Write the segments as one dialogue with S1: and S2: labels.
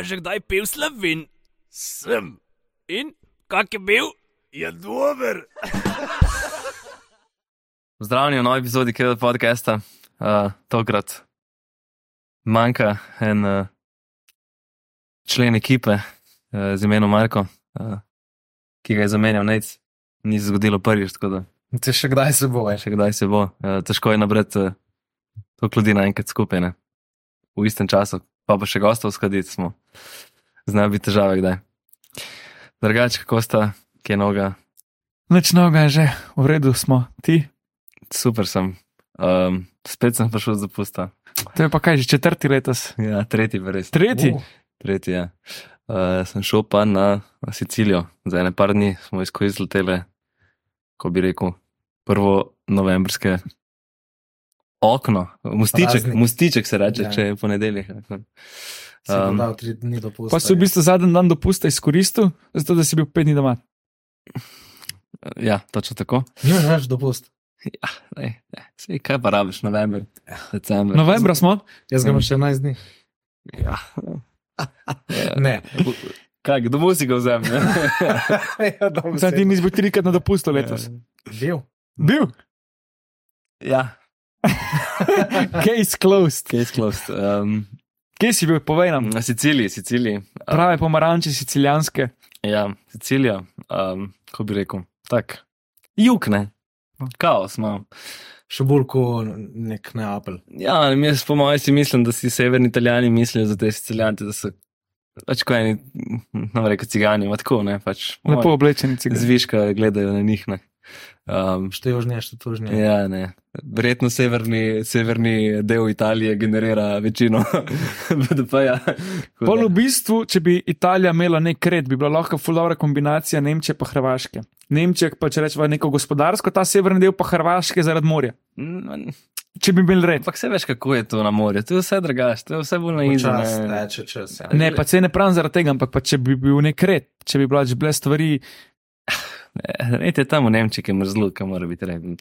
S1: že kdaj pil slovin?
S2: Sem,
S1: In kak je bil?
S2: je dober.
S3: Zdravljeni v novi epizodi KD podcasta. Uh, tokrat manjka en uh, člen ekipe uh, z imenom Marko, uh, ki ga je zamenjal Nec. Ni se zgodilo prvič, tako da
S4: Če še kdaj se bo, eh? veš.
S3: še kdaj se bo. Uh, težko je nabrati uh, toliko ljudi naenkrat skupaj, ne? v istem času, pa pa še gostov skladiti smo. Znajo biti težave, kdaj. Drugače, kako sta, ki je noga,
S4: Nič novega je že, v redu smo, ti.
S3: super sem. Um, spet sem prišel z dopusta.
S4: To je pa kaj že četrti letos.
S3: Ja, tretji, res.
S4: Tretji.
S3: Uh. Tretji, ja. Uh, sem šel pa na, na Sicilijo, za ene par dni smo izkoristili tele, ko bi rekel, prvo novembrske okno, mostiček,
S5: Praznik.
S3: mostiček se reče,
S5: Ja.
S3: ja. če je ponedeljek. Um,
S5: Si um, dal tri dni ja. dopusta.
S4: Pa si v bistvu zadnji dan dopusta izkoristil, zato da si bil pet dni doma.
S3: ja, točno tako.
S5: Nimaš več dopust.
S3: Ej, ne, sej, kaj pa rabiš, november, december.
S4: Novembra smo,
S5: Jaz ga imam še 11 dni.
S3: Ja. Ja.
S5: Ne,
S3: Kaj, kdo mu si ga vzem? ne?
S5: ja, dobro.
S4: zdaj ti nisi bil trikrat na dopustu letos.
S5: Bil.
S4: Bil,
S3: ja,
S4: case closed.
S3: case closed. Um,
S4: Kje si bil, povej nam.
S3: na Siciliji, Siciliji.
S4: Prave pomaranče, sicilijanske.
S3: Ja, Sicilija, um, ko bi rekel, tako. Jug ne,
S4: No.
S3: kaos imamo.
S5: Še bolj kot nek Neapelj.
S3: Ja, ne, jaz po mojem si mislim, da si severni italijani mislijo za te Sicilijance, da so pač kot eni, nam reka cigani, ma tako ne, pač po
S4: Lepo
S3: moje
S4: oblečeni cigani.
S3: zviška gledajo na njih. Ne. Um,
S5: Što je južnje, što to južnje.
S3: ja, ne. Verjetno severni, severni del Italije generira večino BDP-ja. tako da-
S4: Pol v bistvu, če bi Italija imela nek red, bi bila lahko fulovra kombinacija Nemčije pa Hrvaške. Nemčija pa če rečemo neko gospodarsko, ta severni del pa Hrvaške zaradi morja.
S3: Mm,
S4: Če bi imeli red.
S3: Ampak se veš, kako je to na morju, to je vse drugače, to je vse bolj na
S5: Čas
S3: izrazu.
S5: teče čez. ja.
S4: Ne, pa se ne pravim zaradi tega, ampak pa če bi bil nek red, če bi bila že bile stvari,
S3: Rejte Eh, tam v Nemčiji, ki je mrzlo, kam mora biti reden.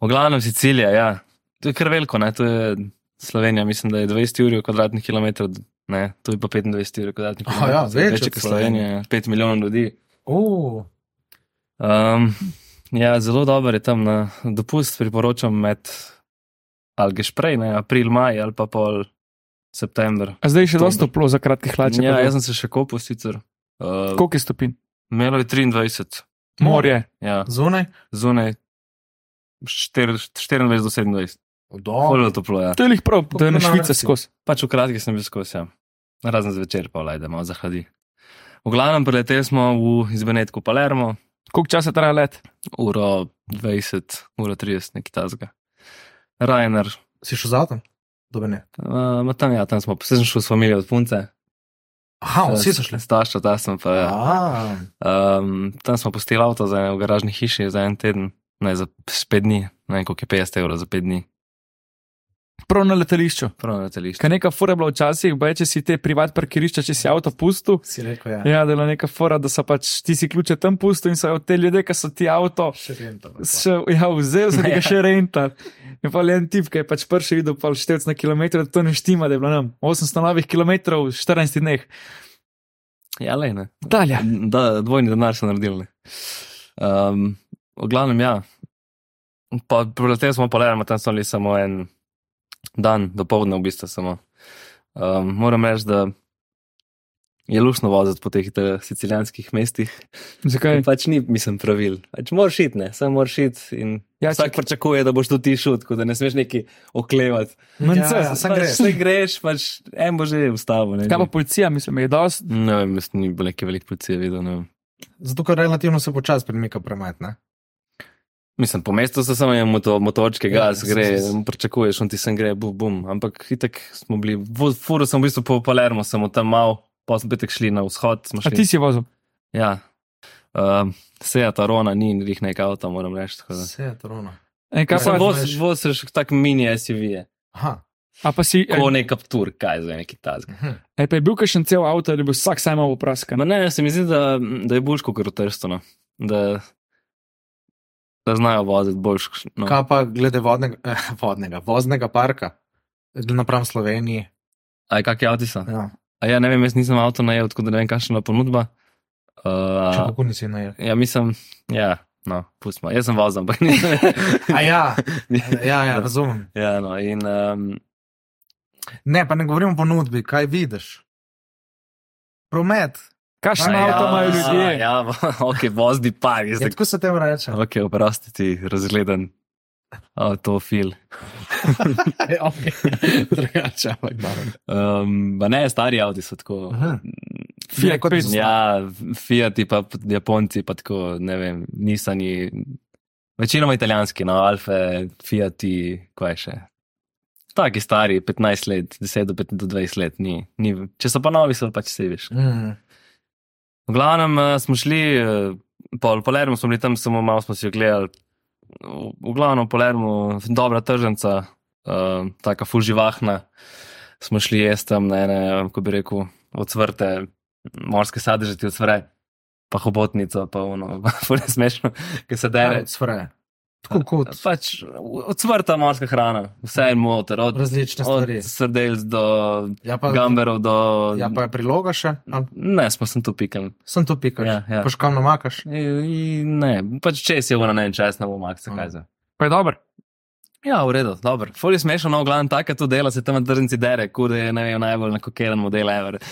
S3: V glavnem Sicilija, ja. To je kar veliko, ne? to je Slovenija, mislim, da je 20 ur kvadratnih kilometrov, ne, to je pa 25 ur kvadratnih
S5: Aha,
S3: kilometrov.
S5: ja,
S3: to je
S5: več
S3: večje
S5: od
S3: kot
S5: Slovenije.
S3: Slovenija, ja. 5 milijonov ljudi.
S5: O,
S3: Um, ja, zelo dober je tam na dopust, priporočam med ali greš prej, ne, april, maj ali pa pol september.
S4: a zdaj je še
S3: To-
S4: dosta toplo za kratke hlače.
S3: Ja,
S4: pa to.
S3: jaz sem se še kopal sicer. Uh,
S4: Koliko je stopinj?
S3: Melo je 23,
S4: Morje.
S3: ja,
S5: zunaj?
S3: zunaj 4, 24 do 27.
S5: Dobro.
S3: Zelo toplo je. Ja.
S4: To je jih prav, da je na
S5: Koliko
S4: Švica
S5: namreč si?
S4: skozi.
S3: Pač v kratki sem bil skozi, ja. razen zvečer, pa vlaj, da malo zahladi. V glavnem, preleteli smo v Izbenetku Palermo,
S4: Koliko časa traja let?
S3: uro 20, uro 30, nekaj tazga. Rajner,
S5: Si šel z avtom? Dobe ne.
S3: uh, tam, ja, tam smo, se sem šel s familijo od punce.
S5: Aha, vsi so šli.
S3: Staša, ta sem pa. Ja.
S5: A,
S3: Um, tam smo postili avto za eno v garažni hiši za en teden, ne za s pet dni, ne vem, koliko je 50 evrov za pet dni,
S4: Prav na letališču.
S3: prav na letališču.
S4: Kaj neka fora je bila včasih, baje, če si te privat parkirišča, če si avto pustil.
S5: si rekel, ja.
S4: Ja, da je bila neka fora, da so pač ti si ključe tam pustil in so te ljudje, ki so ti avto.
S5: Še renta.
S4: Še, ja, vzel sem ga še rentar. In pa le en tip, ki je pač prvi videl, pa števc na kilometr, da to ne štima, da je bilo nam 800 novih kilometrov v 14 dneh.
S3: Ja, le ne.
S4: Dalje.
S3: Da, dvojni denar so naredili. Um, v glavnem, ja. Pa Preleteli smo Palermo, tam smo bili samo en dan, dopoledne v bistvu samo. Um, moram reči, da je lušno voziti po teh eh, sicilijanskih mestih.
S4: Zakaj?
S3: Pač ni, mislim, pravil. Pač moraš iti, ne, samo moraš iti. in
S4: Ja,
S3: Vsak pričakuje, da boš tudi ti šel, tako da ne smeš neki oklevati.
S4: Mence.
S5: Ja, ja, sam
S3: Pač
S5: greš.
S3: Se greš, pač en bo že ustavil. Ne,
S4: Kaj pa policija, mislim, je dosti.
S3: ne vem, jaz ni bilo neke velike policije videl. Ne. vem.
S5: Zato, ker relativno se počasi premika promet, ne?
S3: Mislim, po mestu so samo moto, motočke,
S5: Ja,
S3: gas,
S5: ja,
S3: ja, gre,
S5: se- se-
S3: pričakuješ, on ti sem gre, bum, bum. Ampak itek smo bili, vo- furo sem v bistvu po Palermo, samo tam mal, pa smo petek šli na vzhod. smo
S4: A
S3: šli-
S4: ti si vozil?
S3: Ja. Um, Seja ta rona ni in rih nek avto, moram reči. tako da.
S5: Vse je trona.
S4: E, kaj
S3: Mislim,
S4: pa,
S5: Ja.
S3: voz- Voziš tak mini SUV,
S5: Aha.
S4: a pa si,
S3: ko
S4: e,
S3: nek kaptur, kaj za neki tazg.
S5: mhm.
S4: e, pa je bil kakšen cel avto, ali je bil vsak sam malo opraskan?
S3: Ma ne, se mi zdi, da, da je boljš kot rotrstano. Da, da znajo voziti boljš. No.
S5: Kaj pa glede vodnega, eh, vodnega voznega parka, napram Sloveniji?
S3: Aj, kak je avtisa?
S5: Ja.
S3: A ja, ne vem, jaz nisem avto najel, tako da ne vem, kakšna je bila ponudba.
S5: Če
S3: Uh,
S5: kako nisi najel.
S3: ja, mislim, ja, no, pustimo. Jaz sem vozil, ampak nisem.
S5: A ja, ja, ja, razumem.
S3: ja, no, in um,
S5: Ne, pa ne govorim o ponudbi, kaj vidiš. Promet.
S4: Kakšen
S5: Ja,
S4: avto imajo
S5: ja,
S4: ljudje?
S3: Ja, ok, vozni pa je
S5: Ja,
S3: zdaj.
S5: tako se temu reče.
S3: Ok, oprosti ti, razgleden avtofil.
S5: Drugače, ampak dobro.
S3: Um, pa ne, stari avti so tako.
S5: Aha.
S4: Fiat
S5: Kot
S4: 500.
S3: Ja, Fiat, pa Japonci, pa tako, ne vem, nisani. Večinoma italijanski, no, Alfe, Fiat, kaj še. Taki stari, 15 let, 10 do 15 do 20 let, ni. ni. Če so pa novi, so pač seviš.
S5: Mm.
S3: V glavnem eh, smo šli, eh, pol Palermo smo bili tam, samo malo smo si ogledali. V- V glavnem Palermo, dobra tržnica, uh, taka fuživahna. Smo šli jesti tam na ene, ko bi rekel, odsvrte, morske sadeže ti odsvre, pa hobotnico, pa ono, pa ne smešno, ki se dere.
S5: Svre. ja, Tako kot
S3: Pač odsvrta morska hrana, vse je motor, od,
S5: različne
S3: od
S5: stvari.
S3: srdelc do
S5: Ja, pa,
S3: gamberov do.
S5: ja, pa je priloga še, ali
S3: Ne, smo sem tu pikem.
S5: sem to pikaš.
S3: Ja, ja.
S5: Pa škam namakaš.
S3: E, Ne, pač če si ona na en čas, ne bo maks, kaj za.
S4: Pa je dober.
S3: Mm. Ja, v redu, dobro. Ful je smešno, no, glavno tako to dela, se tam na tržnici dere, kuda je ne vem, najbolj nakokeren model ever.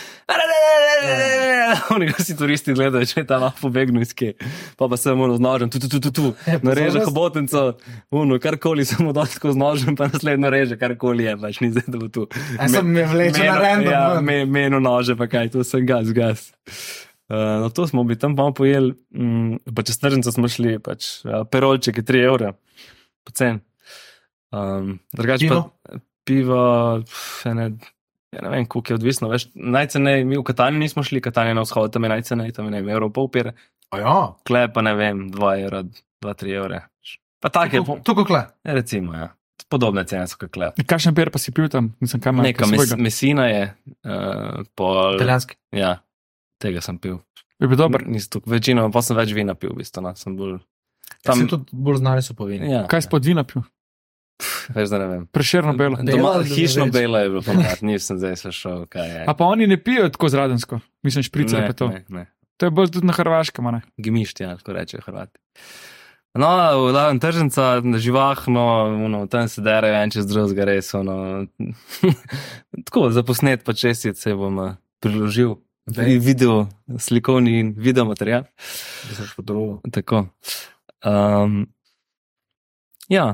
S3: Oni ga si turisti gledajo, če je tam lahko pobegnu iz kje. Pa pa sem ono z nožem, tu, tu, tu, tu, tu. nareže hobotnico, ono, karkoli samo dotko z nožem, pa naslednjo reže, karkoli je, pač ni zdaj, da bo tu.
S5: Ja, sem me vlečen na
S3: Meno-
S5: random. no.
S3: Ja,
S5: ven.
S3: me, meno nože, pa kaj, tu sem gas, gas. Uh, no, to smo bili tam malo pojeli, mm, pa čez tržnico smo šli, pač uh, perolček je 3 evra, pocen. Um, drugače pa
S5: Pivo?
S3: pivo, pf, ene, ja ne vem, koliko je odvisno. Veš, najcenej, mi v Katanju nismo šli, Katanje na vzhod, tam je najcenej, tam je ne vem, evro pol pire,
S5: Aja,
S3: kle pa ne vem, 2 evra, 2-3 evra. Pa tako je, po-
S5: tu kokle.
S3: recimo, ja. Podobne cene so kot kle.
S4: Kakšen pier pa si pil tam, nisem kam
S3: Neka mes, mesina je, uh, pol.
S5: Italijanski.
S3: Ja, tega sem pil.
S4: Je bil dober.
S3: Nisem tako- Večino, pa sem več vina pil, v bistvu. No. Sem bolj.
S5: Tam
S3: Tam,
S5: se Ja, tudi bolj znani so povini.
S3: ja,
S4: Ja, Kaj si pod vina pil?
S3: Veš, da ne vem.
S4: Preširno belo.
S5: Belo
S3: Doma,
S5: ali da ne
S3: hišno
S5: več?
S3: belo je bilo, pomlad, nisem zdaj slišal, kaj je.
S4: A pa oni ne pijo tako zradensko, mislim, šprice ali
S3: ne,
S4: pa to.
S3: ne, ja, ne.
S4: To je bolj tudi na Hrvaškem, a ne?
S3: Gmišti, ali kako rečejo Hrvati. No, v glavnem tržnica, živahno, ono, tam se derajo en čez drugega, res. Ono, tako, za posnet pa čestitce se bom eh, priložil.
S5: Daj.
S3: Video, slikovni in video material. Tako. Um, ja,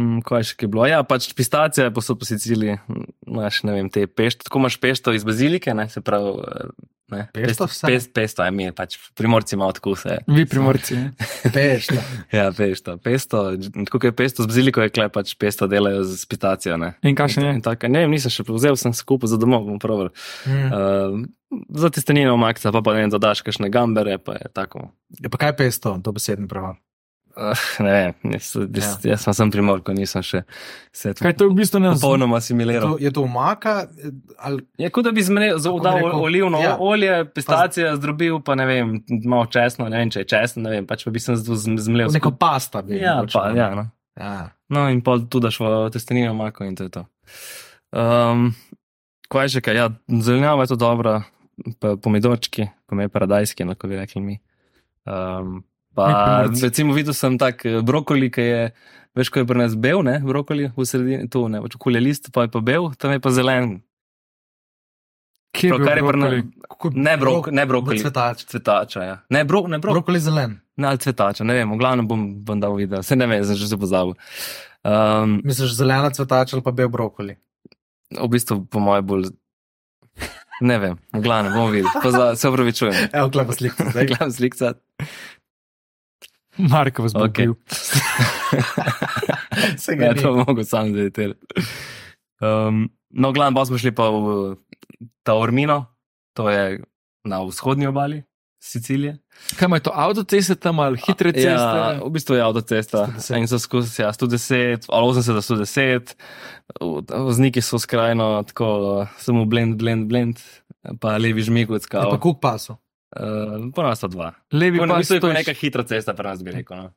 S3: mm, kaj še ki je bilo? Ja, pač pistacija je posod po Siciliji, mm, imaš ne vem, te pešto, tako imaš pešto iz bazilike, ne se pravi. eh, Ne,
S5: Pesto
S3: pest,
S5: vse?
S3: pest, pesto, je mi je pač, primorci imamo tako vse.
S4: Vi primorci. ne?
S5: Peš,
S3: Ja, pesto, pesto, dž- tako je pesto z baziliko, je klep, pač pesto delajo z pitacijo. Ne,
S4: In kakšen je?
S3: In tako, ne, vem, nisem še prevzel, sem skupaj za domov, bom proval.
S5: mm.
S3: Uh, za testenino omakca, pa pa ne vem, dodaš kakšne gambere, pa je tako.
S5: ja, pa kaj peš to, to besedni pravo.
S3: Uh, ne vem, jaz, jaz,
S5: Ja.
S3: jaz sem sem primor, ko nisem še se
S4: Kaj to je v bistvu ne znam?
S3: popolnoma
S5: Je to,
S3: asimiliral.
S5: je to umaka? eh, Ali,
S3: Je kot da bi zmedel,
S5: Kako bi
S3: dal
S5: rekel?
S3: olivno
S5: Ja.
S3: ja. olje, pistacije, zdrobil, pa ne vem, malo česno, ne vem, če je česno, ne vem, pač pa bi sem zmedel.
S5: neko pasta bi.
S3: Ja,
S5: mogoče.
S3: pa, ja, no.
S5: ja.
S3: No, in pa tudi daš v testenino mako in to je to. Um, kaj je še kaj? Ja, zelenjava je to dobra, pa pomidorčki, pomej paradajski, enako bi rekli mi. Um,
S4: Mi
S3: pa,
S4: pomorci.
S3: recimo, videl sem tak eh, brokoli, ki je, veš, ko je pri nas bel, ne, brokoli v sredini, tu ne, čokolje list, pa je pa bel, tam je pa zelen.
S4: Kje je
S3: Prav,
S4: bil
S3: kar je pri
S4: brokoli?
S3: nas-
S5: Kako je
S3: Ne, brok,
S5: brok-
S3: ne brokoli.
S5: Cvetač.
S3: Cvetača, ja. Ne, bro, ne, bro,
S5: Brokoli zelen.
S3: ne, ali cvetača, ne vem, v glavnem bom, bom dal video, se ne vem, sem že se pozabil. Um,
S5: Misliš, zelena cvetač ali pa bel brokoli?
S3: v bistvu, po mojem, bolj. Ne vem, glavno bomo videli, Poza, se upravičujem.
S5: Evo, klepa slika. zdaj.
S3: Glavno slika.
S4: Marko vas bo
S3: Okej.
S4: bil.
S5: Se ga
S3: Ja,
S5: ni.
S3: to mogo sam zdaj. Um, no, glavno, pa smo šli pa v Taormino, to je na vzhodnji obali Sicilije.
S4: Kaj ima to avtoceste tam ali hitre ceste?
S3: Ja, v bistvu je avtocesta.
S5: 110.
S3: In so skozi ja, 110, ali 80 do 110, v- vozniki so skrajno tako, samo blend, blend, blend, pa levi žmigujec.
S5: Je pa kuk pasu.
S3: Uh, Ponovno sta dva.
S4: Levi
S3: Bi
S4: pa
S3: pa
S4: stojiš.
S3: neka hitra cesta, pa nas bi rekel. No.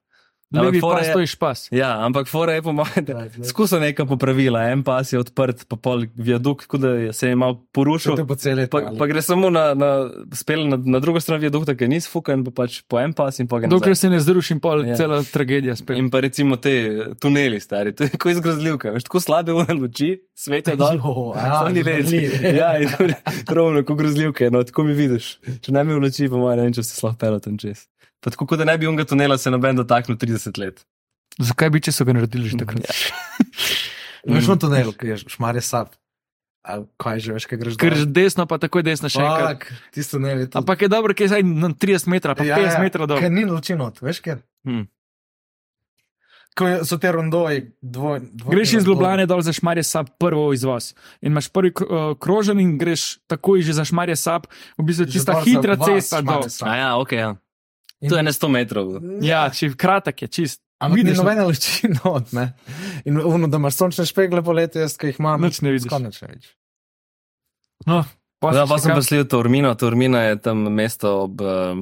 S3: Ampak
S4: levi
S3: fora
S4: pas,
S3: je-
S4: to je špas.
S3: Ja, ampak fora je po mojem, da
S5: Right, ne.
S3: skuša nekaj popravila. En pas je odprt, pa pol viadukt, tako da je- se je malo porušil.
S5: Te bo cele
S3: Pa, pa gre samo na, na, spele na, na drugo stran viadukta, ki ni sfukan, pa pač po en pas in pa ga
S4: Dokler
S3: nazaj.
S4: se ne zrušim, pol
S3: Ja.
S4: yeah. cela tragedija spet.
S3: In pa recimo te eh, tuneli, stari, to je tako izgrozljivka. Veš, tako slabe one luči, svetijo dol. Oni reci. Ja, in to je rovno, kot grozljivke, no, tako mi vidiš. Če ne bi v luči, pa moj, ne vem, če se slabo pelo tam čez. Pa tako kot da ne bi unga tunela se noben dotaknil 30 let.
S4: Zakaj bi, če so ga naredili že takrat?
S3: Ja.
S5: Veš v tunel, ki je šmarje sap. Ali kaj že veš, kaj greš
S4: Ker že desno, pa takoj desno še enkrat.
S5: Fak, tisto ne je.
S4: Ampak je dobro, ker je zdaj na 30 metrov,
S3: Ja,
S4: pa 50 metrov dol. Hmm.
S5: Ker Ja, ni luči not, veš kje.
S3: Hm.
S5: Ko je- so te rondoji, dvojni. Dvoj,
S4: Greš iz Ljubljana dol za Šmarje Sap, prvo izvoz. In imaš prvi kro- eh, krožen in greš takoj že za Šmarje Sap, v bistvu čista hitra cesta dol.
S3: A ja, ok, ja. To je ne 100 metrov.
S4: Ja, če kratek je, čist.
S5: Ampak vidiš,
S4: vidiš, no-
S5: nobene luči not, ne. In ono, da imaš sončne špegle poleti, jaz, ki jih imam,
S4: Nič ne vidiš.
S5: skoraj nič ne vidiš.
S3: Ja, pa sem
S4: čakam-
S3: prišel v Tormino. Tormina je tam mesto ob, eh,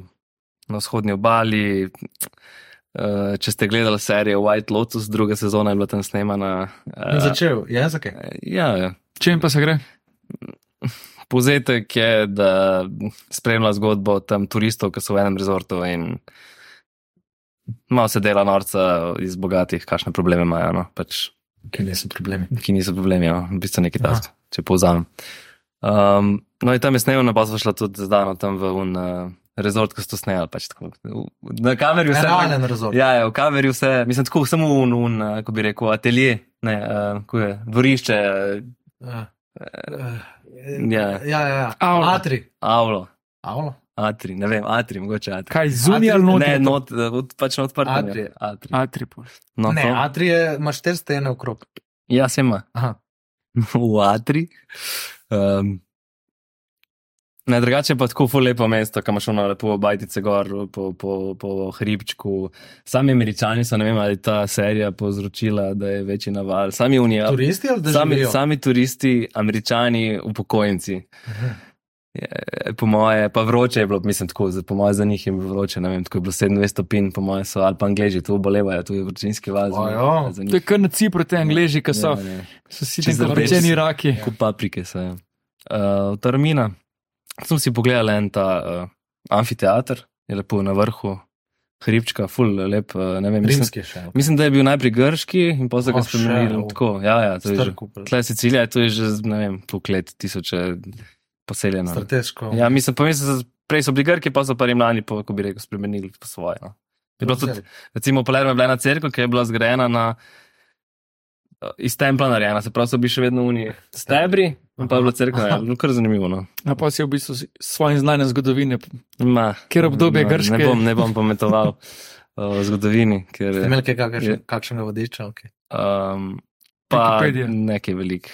S3: na vzhodnji obali. Eh, Če ste gledali serijo White Lotus, druga sezona je bila tam snemana. eh,
S5: In začel, je zakaj?
S3: Ja, ja.
S4: Čem pa se gre?
S3: Povzetek je, da spremlja zgodbo tam turistov, ki so v enem rezortu in malo se dela norca iz bogatih, kakšne probleme imajo, no? pač,
S5: Ker niso problemi.
S3: ki niso problemi, no? v bistvu neki task, če povzamem. Um, no in tam je snemal, pa so šla tudi zdano tam v un, uh, rezort, ko so to snejali. Pač, tako. V- na kameri vse.
S5: Realen razlog.
S3: Ja, ja, v kameri vse, mislim, tako samo un, un, eh, kako bi rekel, atelje, ne, uh, ko je dvorišče,
S5: Ja.
S3: ja.
S5: Ja, ja, ja.
S4: Avlo.
S5: Atri.
S3: avlo.
S5: Avlo.
S3: Atri, ne vem, atri, mogoče atri.
S4: Kaj zunaj ali
S5: Atri-
S4: noter?
S3: Ne, not, eh, od- pač na odprtem.
S5: Atri.
S3: je. Atri.
S4: Atri pol.
S3: No,
S5: Ne,
S3: to-
S5: Atri je, imaš štiri stene okrog.
S3: Ja, sem ima.
S5: Aha.
S3: v Atri. Um, Ne, drugače pa tako ful lepo mesto, kam šlo na lepo Bajtice gor, po, po, po hribčku. Sami američani so, ne vem, ali je ta serija povzročila, da je večji naval. Sami unija.
S4: Ja.
S5: Turisti ali da
S3: Sami,
S5: živijo?
S3: sami turisti, američani, upokojenci.
S5: Aha.
S3: Je, Po moje, pa vroče je bilo, mislim, tako, za- po moje za njih je bilo vroče, ne vem, tako je bilo 27 stopinj, po moje so, ali pa angliži, tu obolevajo, tu je vročinski val. za-
S5: Ojo.
S3: za
S4: To je
S3: njih.
S4: kar na Cipru, te Angleži, ki so,
S3: Ja, ne.
S4: so si
S3: Čisto
S4: tam zapečeni raki.
S3: Kup paprike se je. Uh, Tarmina, sem si pogledal en ta uh, amfiteater, je lepo na vrhu, hribčka, ful, lep, uh, ne vem, mislim,
S5: Rimski še.
S3: mislim, da je bil najprej grški in potem so ga
S5: O, še,
S3: spremenili.
S5: o.
S3: Tako, ja, ja, to je že.
S5: Star kupil.
S3: Tle Sicilija, to je že, ne vem, toliko let, tisoče poseljeno.
S5: Strateško.
S3: Ja, mislim, pa mislim, da prej so bili Grki, pa so pa Rimljani, pa, ko bi rekel, spremenili po svoje. No. Je bilo tudi, recimo, Palermo je bila ena cerkev, ki je bila zgrajena na, iz templa narejena, se pravi, so bili še vedno unije. Stebri, in pa je bila cerkev, je bilo kar zanimivo. No.
S4: A pa si v bistvu s svojim znanjem zgodovine.
S3: Ma,
S4: Ker obdobje
S3: no,
S4: grške-
S3: Ne bom, ne bom pometoval o zgodovini, ker je.
S5: Imel kaj kakšen- kakšnega vodiča? Okay.
S3: Um, pa
S4: Wikipedija.
S3: nekaj velik.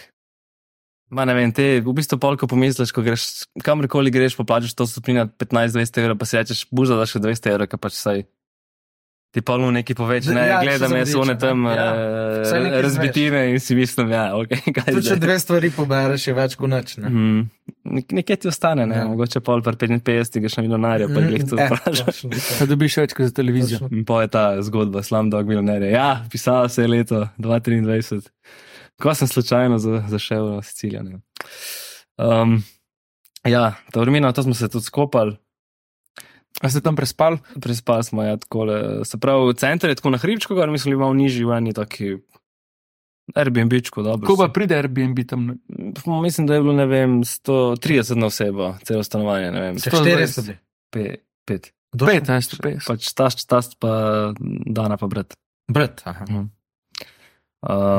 S3: Ma ne vem, te v bistvu polko pomisliš, ko greš kamorkoli greš, pa plačeš to stopnina 15-20 evrov, pa si rečeš, buža daš še 200 evrov, ka pač saj. Ti pa luno neki poveč,
S5: Da,
S3: ne,
S5: ja,
S3: ja,
S5: še
S3: gledam
S5: sem
S3: jaz
S5: vodič,
S3: one
S5: ne.
S3: tam
S5: Ja. Saj
S3: ja.
S5: nekaj
S3: razbitine in si mislim, ja, ok, kaj
S5: Tudi če
S3: zdaj.
S5: dve stvari pobereš, je več kot nič. Ne?
S3: Mm, nek- nekje ti ostane, ne,
S5: Ja.
S3: ja. mogoče pol par 55, greš na milijonarja, pa jih to
S5: Eh,
S3: vprašaš.
S5: točno,
S4: Da dobiš več kot za televizijo.
S5: točno.
S3: In pa je ta zgodba, Slumdog Millionaire. Ja, pisala se je leto 2023, ko sem slučajno za- zašel na Sicilijo. ne. Um, ja, ta vremena, to smo se tudi skopali,
S4: A ste tam prespali?
S3: prespali smo ja, tako. Se pravi, center je tako na Hribčku, gor mislim, da imamo nižji v eni taki Airbnb-čku. dobro
S4: Ko
S3: so-
S4: pa pride Airbnb tam?
S3: No. Mislim, da je bilo, ne vem, 130 na osebo, celo stanovanje, ne vem,
S5: Še štiri so
S4: 120.
S5: bili.
S3: pe, pet.
S5: Kdo še?
S4: 15, 15.
S3: Pač taš, taš, pa dana pa brat.
S5: Brat, aha.
S3: Mm. Um,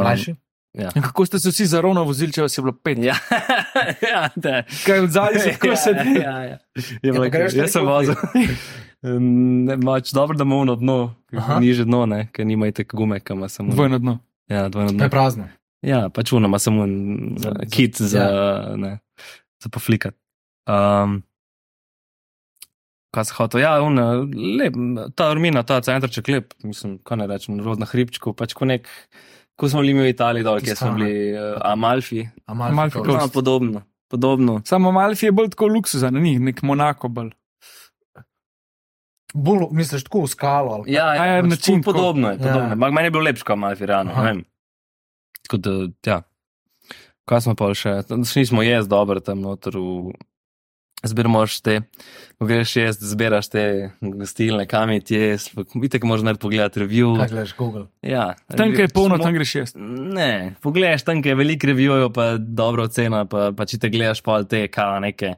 S5: Mlajši.
S4: In kako ste se vsi zarovno vozili, če vas je bilo 5?
S3: Ja, ja, da.
S4: Kaj od zadaj se tako
S3: Ja,
S4: sedi?
S3: Ja, ja.
S5: Ja,
S3: Je
S5: pa
S3: bilo,
S5: greš
S3: jaz sem
S5: tako
S3: vozil. Ne, Mač, dobro, da imamo ono dno,
S5: Aha.
S3: niže dno, ne, ker nima itek gume, kam ima samo.
S4: Dvojno dno.
S3: Ja, dvojno
S5: Pa
S3: dno.
S5: je prazno.
S3: Ja, pač uno ima samo en
S5: Za-
S3: eh,
S5: za-
S3: kit za, ja. ne, za poflikat. Um, kaj se hoče? Ja, una, lep, ta armina, ta centrček lep, mislim, kaj ne rečem, rodna hribčku, pač ko nek, ko smo bili mi v Italiji dol, kjer smo
S5: Toskana.
S3: bili eh, Amalfi,
S4: Amalfi
S5: Amalfi.
S4: Coast.
S3: no, podobno, podobno.
S4: Samo Malfi je bolj tako luksuzen, ni nek Monako bolj.
S5: Bolj misliš tako v skalo. ali kaj?
S3: Ja,
S4: A ja,
S3: pač
S4: način,
S3: ful podobno je.
S5: ko-
S3: Podobno.
S5: Ja.
S3: Ja. Meni je bil lepši kot Malfi Rano.
S5: Aha.
S3: ne vem. Tako da, ja. Kaj smo pa še? Tam Šli smo jaz dobro tam noter v. Zbiramo šte, ko greš jaz, zbiraš te gostilne, kam je ti jaz, vidite, moraš narediti pogled review.
S5: Kaj gledaš, Google?
S3: Ja,
S4: Tam kjer je polno,
S3: smo-
S4: tam greš šest.
S3: Ne, pogledaš tam, kjer je veliko revijev, pa dobro ocena, pa, pa če te gledaš pol te kao neke.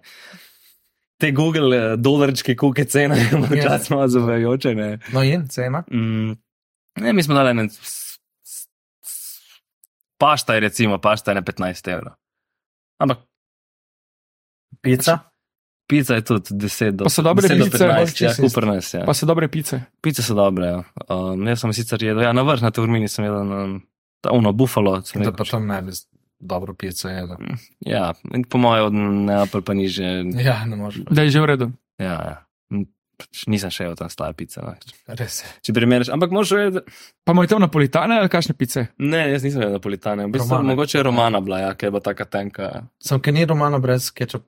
S3: Te Google eh, dolarčke, koliko je cena,
S5: Ja.
S3: včasih malo zavajajoče. Ne?
S5: No in cena.
S3: Mm, ne, mi smo dali ne. Pašta je recimo, pašta je na 15 evrov. Ampak
S5: Pica.
S3: pica je tudi 10 do
S4: Pa so dobre
S3: 10 do
S4: pice,
S3: 15, ja,
S5: čisto isto.
S3: kuprnes, ja.
S4: Pa so dobre pice.
S3: Pice so dobre. Ja. Um, jaz sem sicer jedel, ja, na vrh na Turmini sem jedel, um, ta uno bufalo. sem
S5: Da
S3: rekel,
S5: pa tam naj bi dobro pico jedel.
S3: Ja, in po mojem od Neapelj pa ni že.
S5: Ja, ne moreš.
S4: Da je že v redu.
S3: Ja, ja. N- pač Nisem še jedel tam slabe pice. No.
S5: Res je.
S3: Če primerjaš, ampak moraš vedeti,
S4: Pa imajo tam napolitane ali kakšne pice?
S3: ne, jaz nisem jedel napolitane. V bistvu,
S5: Romana.
S3: mogoče je romana bila, ja, ker je bila taka tenka.
S5: Sem ki ni romano brez kečupa.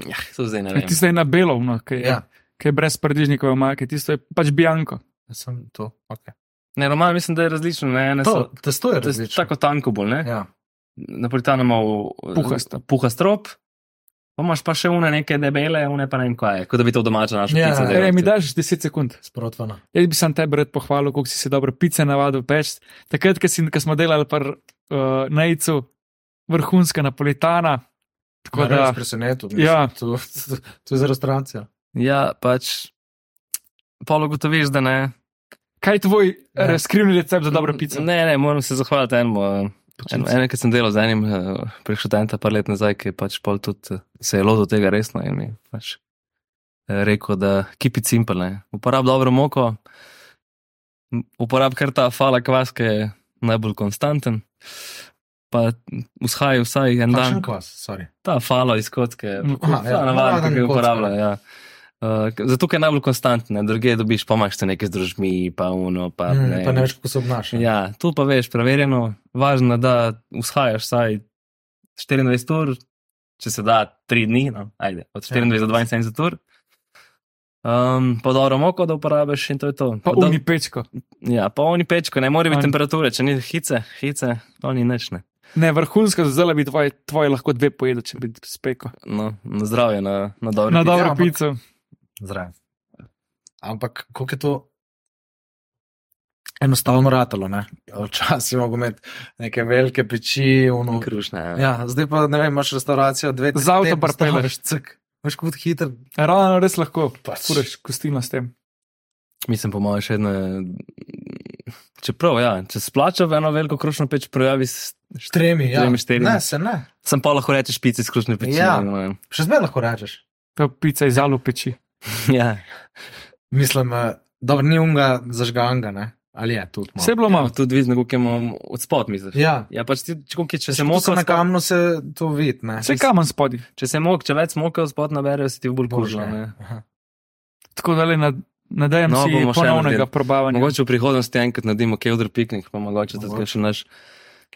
S3: Ja, to zdaj ne vem.
S4: Tista je na belo, no, ki, je,
S5: Ja,
S4: ja. ki je brez paradižnikove omake, tisto je pač bianko.
S5: Ja, sem to. Okay.
S3: Ne, roman mislim, da je različno. Ne, ne,
S5: To, testo je
S3: to je
S5: različno.
S3: tako tanko bolj, ne? Ja.
S5: Ja.
S3: Napolitano ima
S4: Puhasto.
S3: puhastrop, pa imaš pa še une neke debele, une pa ne vem kaj je, kot da bi to domača naša
S5: Ja,
S3: pica.
S5: ja,
S3: delala.
S4: Ej, mi daš 10 sekund.
S5: Sprotvana.
S4: Jaz bi sam tebe rad pohvalil, koliko si se dobro pice navadil peč. Takrat, ko si- ko smo delali par uh, najcu, vrhunska napolitana. Tako da,
S5: presenečen.
S4: Ja.
S5: To, to, to je za restavracijo.
S3: ja, pač. Polo gotoviš, da ne.
S4: kaj je tvoj
S5: Ja.
S4: ja. skrivni recept za dobro pico?
S3: Mm, Ne, ne, moram se zahvaliti enemu. eh, En,
S5: Počitnice.
S3: ene, ki sem delal z enim eh, prek študenta, par let nazaj, ki je pač pol tudi eh, se je lotil tega resno in mi je pač eh, rekel, da kipi cimpelne. Uporab dobro moko, m, uporab kar ta fala kvas, ki je najbolj konstanten. Pa vzhaja vsaj en dan.
S5: Kakšen kos, sorry.
S3: Ta fala iz kocke,
S5: Aha, ja,
S3: ta navadna,
S5: navaden
S3: ki ga
S5: kocka.
S3: uporablja. Ja. Uh, zato ker je najbolj konstantna, druge dobiš pa imaš te neke združmi, pa uno, pa
S5: Mm, pa ne veš, kako se obnaša.
S3: Ja, to pa veš, preverjeno. Važno je, da vzhajaš vsaj 24 ur, če se da 3 dni, no, ajde, od 24 do 72 ur. Um, pa dobro moko, da uporabiš in to je to.
S4: Pa
S3: da,
S4: uni pečko.
S3: ja, pa oni pečko, ne more biti
S4: Oni-
S3: temperature, če ni hice, hice, oni nečne.
S4: Ne, vrhunska, zdaj bi tvoje, tvoje lahko dve pojedel, če bi spekel.
S3: No, na zdravje, na, na dobro.
S4: Na
S3: pico.
S4: dobro
S5: ampak-
S4: pico.
S5: Zdrav. Ampak kako je to enostavno ratalo, ne? Včasih imamo imeti neke velike peči, ono.
S3: Krušna, ja.
S5: Ja, zdaj pa ne vem, imaš restavracijo, dve,
S4: Z avta
S5: tedne
S4: pripelješ.
S5: postaviš, cek. Veš, kot hiter.
S4: Ravno res lahko,
S5: Pač.
S4: kureš kostino s tem.
S3: Mislim, po mojem, še eno. je- Čeprav, ja, če splača v eno veliko krušno peč, projavi s-
S5: S tremi, ja.
S3: Tremi, štirimi.
S5: Ne, se ne.
S3: sem pa lahko rečeš pice iz krušne peči.
S5: Ja.
S3: ne vem.
S5: Še zdaj lahko rečeš.
S4: To je pica iz alu peči.
S3: ja.
S5: Mislim, eh, dobro, ni unga zažganga, ne? Ali je tudi
S4: Vse je
S5: malo.
S4: bilo
S3: Imam
S4: malo.
S3: Ja, tudi vidno, kako imam od spod, misliš.
S5: Ja,
S3: Ja, pač ti, če, koliko je- če se
S5: Če
S3: moka,
S5: moka na
S3: spod-
S5: kamnu se to vidi, ne?
S4: Vse kamen spodi.
S3: če se mok, če več moka spod naberejo, se ti bolj
S5: Bože,
S3: kužno. ne.
S5: aha.
S4: Tako da le nad, nadajem no,
S3: No,
S4: si
S3: bomo še
S4: ponovnega
S3: naredili.
S4: probavanja.
S3: Mogoče v prihodnosti enkrat naredimo kevdr piknik, pa mogoče tudi
S5: Mogoče.
S3: še naš